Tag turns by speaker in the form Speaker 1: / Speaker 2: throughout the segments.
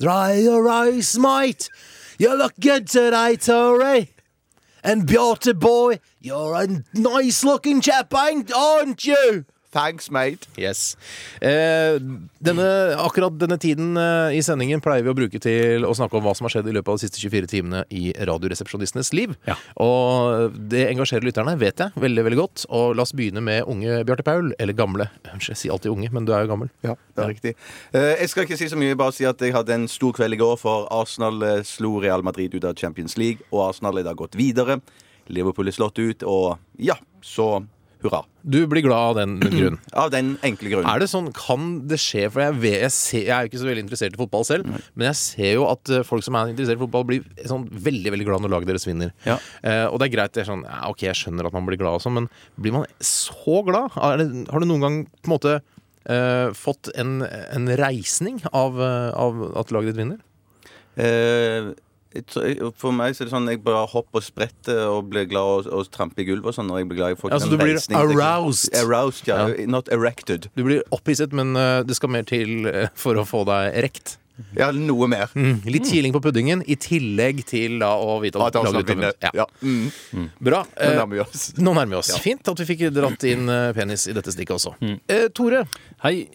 Speaker 1: Dry your eyes, mate. You look good today, Tory. And Bjarte boy, you're a nice looking chap, ain't- aren't you?
Speaker 2: Thanks, mate.
Speaker 3: Yes. Eh, denne, akkurat denne tiden eh, i sendingen pleier vi å bruke til å snakke om hva som har skjedd i løpet av de siste 24 timene i Radioresepsjonistenes liv.
Speaker 4: Ja.
Speaker 3: Og det engasjerer lytterne, vet jeg, veldig veldig godt. Og la oss begynne med unge Bjarte Paul. Eller gamle. Unnskyld, jeg sier alltid unge, men du er jo gammel.
Speaker 2: Ja, det er riktig. Eh, Jeg skal ikke si så mye, bare si at jeg hadde en stor kveld i går, for Arsenal eh, slo Real Madrid ut av Champions League, og Arsenal er da gått videre. Liverpool er slått ut, og ja, så hurra.
Speaker 3: Du blir glad av den grunn.
Speaker 2: Av den enkle grunnen.
Speaker 3: Er det sånn, Kan det skje? For jeg, vet, jeg, ser, jeg er jo ikke så veldig interessert i fotball selv, men jeg ser jo at eh, folk som er interessert i fotball, blir sånn veldig veldig glad når laget deres vinner.
Speaker 2: Ja.
Speaker 3: Eh, og det er greit, det er sånn, ja, ok, jeg skjønner at man blir glad, og sånn, men blir man så glad? Er det, har du noen gang på en måte eh, fått en, en reisning av, eh, av at laget ditt vinner?
Speaker 2: Eh, jeg tror- For meg så er det sånn jeg bare hopper og spretter og blir glad og, og tramper i gulvet og sånn når jeg blir glad. Jeg får ikke
Speaker 3: Ja, så
Speaker 2: den
Speaker 3: du blir
Speaker 2: reisning til-
Speaker 1: aroused.
Speaker 2: Aroused, ja. Not erected.
Speaker 3: Du blir opphisset, men eh, det skal mer til eh, for å få deg rekt.
Speaker 2: Ja, noe mer.
Speaker 3: Litt kiling på puddingen, i tillegg til da å vite
Speaker 2: Mm. At
Speaker 3: at
Speaker 2: han
Speaker 3: laget
Speaker 2: skal
Speaker 3: ditt
Speaker 2: vinne.
Speaker 3: har vunnet.
Speaker 2: Ja. Mm.
Speaker 3: Bra.
Speaker 2: Men
Speaker 3: Eh,
Speaker 2: da må vi gjøre oss.
Speaker 3: Nå nærmer vi oss. Fint at vi fikk dratt inn eh, penis i dette stikket også. Eh, Tore.
Speaker 4: Hei.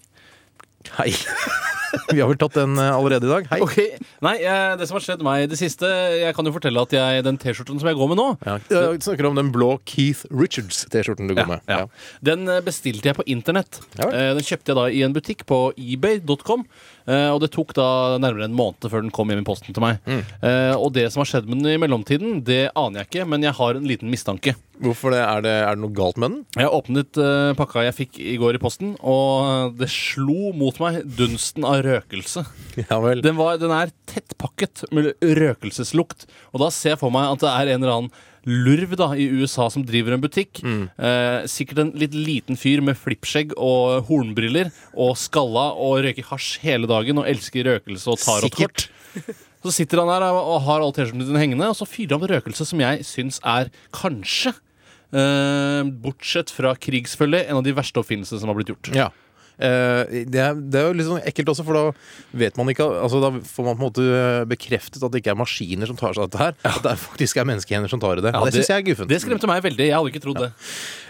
Speaker 3: Hei. vi har vel tatt den eh, allerede i dag. Hei.
Speaker 4: Ok. Nei, eh, det som har skjedd meg i det siste Jeg kan jo fortelle at jeg, den T-skjorten som jeg går med nå,
Speaker 3: Ja. Du eh, snakker om den blå Keith Richards-T-skjorten du går med.
Speaker 4: Ja. Den eh, bestilte jeg på internett.
Speaker 3: Ja vel.
Speaker 4: Eh, Den kjøpte jeg da i en butikk på ebay.com. eh, Og det tok da nærmere en måned før den kom hjem i posten til meg.
Speaker 3: Mm.
Speaker 4: Eh, Og det som har skjedd med den i mellomtiden, det aner jeg ikke, men jeg har en liten mistanke.
Speaker 3: Hvorfor det? Er, det? er det noe galt med den?
Speaker 4: Jeg åpnet eh, pakka jeg fikk i går i posten, og det slo mot meg dunsten av røkelse.
Speaker 3: Ja vel.
Speaker 4: Den, var, den er tettpakket med røkelseslukt. Og da ser jeg for meg at det er en eller annen lurv da, i USA som driver en butikk.
Speaker 3: Mm.
Speaker 4: Eh, sikkert en litt liten fyr med flippskjegg og hornbriller og skalla og røyker hasj hele dagen og elsker røkelse og tarotkort. Så sitter han der og har all T-skjorten sin hengende, og så fyrer han på røkelse som jeg syns er kanskje eh, bortsett fra krigsfølge, en av de verste oppfinnelsene som har blitt gjort.
Speaker 3: Ja. Eh, det, er, det er jo litt sånn ekkelt også, for da vet man ikke altså Da får man på en måte eh, bekreftet at det ikke er maskiner som tar seg av dette her. At det er faktisk er menneskehender som tar i det. det syns jeg er guffent.
Speaker 4: Det skremte meg veldig. Jeg hadde ikke trodd det.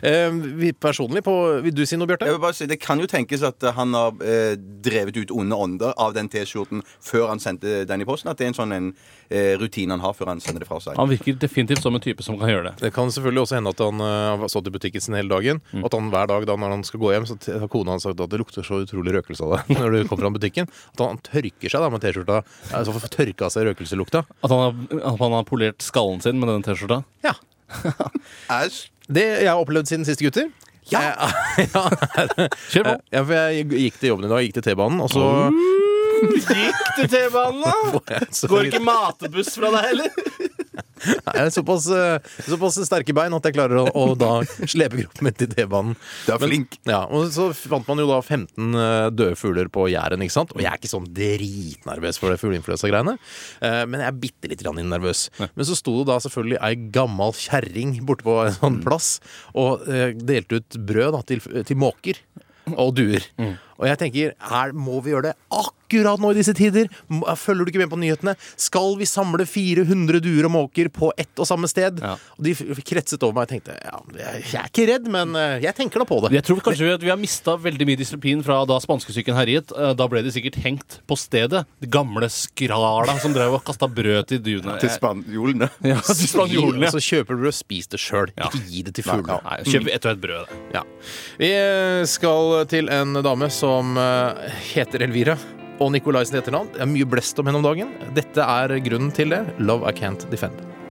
Speaker 3: Eh, vi- personlig, på, vil du si noe, Bjarte?
Speaker 2: Jeg vil bare si, Det kan jo tenkes at han har eh, drevet ut onde ånder av den T-skjorten før han sendte den i posten. At det er en sånn en, eh, rutine han har før han sender det fra seg.
Speaker 4: Han virker definitivt som en type som kan gjøre det.
Speaker 3: Det kan selvfølgelig også hende at han uh, har stått i butikken sin hele dagen.
Speaker 4: Mm.
Speaker 3: Og at han hver dag da når han skal gå hjem, så t- har kona hans sagt at det lukter så utrolig røkelse av deg når du kommer fra butikken. At han tørker seg da med T-skjorta. Altså får tørka seg røkelselukta.
Speaker 4: At han har, at han har polert skallen sin med den T-skjorta?
Speaker 3: Ja.
Speaker 2: Æsj.
Speaker 3: Det jeg har opplevd siden siste gutter.
Speaker 2: Ja.
Speaker 3: Eh, ja, Eh,
Speaker 4: Kjør på.
Speaker 3: ja, for jeg gikk til jobben i dag, gikk til T-banen, og så
Speaker 4: Gikk til T-banen, da?
Speaker 3: så
Speaker 4: matebuss fra deg heller?
Speaker 3: Nei, jeg har såpass, eh, såpass sterke bein at jeg klarer å, å da slepe kroppen min til T-banen.
Speaker 2: Du er
Speaker 3: Men-
Speaker 2: flink.
Speaker 3: Ja, og så fant man jo da 15 eh, døde fugler på Jæren, ikke sant? Og jeg er ikke sånn dritnervøs for det fugleinfluensa-greiene, eh, men jeg er bitte litt grann nervøs. Men så sto det da selvfølgelig ei gammal kjerring borte på en
Speaker 4: Mm.
Speaker 3: sånn plass og eh, delte ut brød da, til, til måker. Og duer.
Speaker 4: Mm.
Speaker 3: Og jeg tenker, her må vi gjøre det akkurat nå i disse tider? M- eh, Følger du ikke med på nyhetene? Skal vi samle 400 duer og måker på ett og samme sted?
Speaker 4: Ja.
Speaker 3: Og de f- kretset over meg og tenkte, ja, jeg jeg er ikke redd, men eh, jeg tenker da på det.
Speaker 4: Jeg tror kanskje vi- at vi har mista veldig mye disiplin fra da spanskesyken herjet. Eh, Da ble de sikkert hengt på stedet. De gamle skrala som drev og kasta brød til duene.
Speaker 2: Til spanjolene.
Speaker 4: Ja, til spanjolene.
Speaker 3: Så kjøper du og spiser det sjøl.
Speaker 4: Ja.
Speaker 3: Ikke gi det til fuglene. Mm.
Speaker 4: Nei, kjøp ett og ett brød. det.
Speaker 3: Ja. Vi eh, skal til en dame som eh, heter Elvira. Og Nikolaisen i etternavn. Det er mye blest om henne om dagen. Dette er grunnen til det. Love I Can't Defend.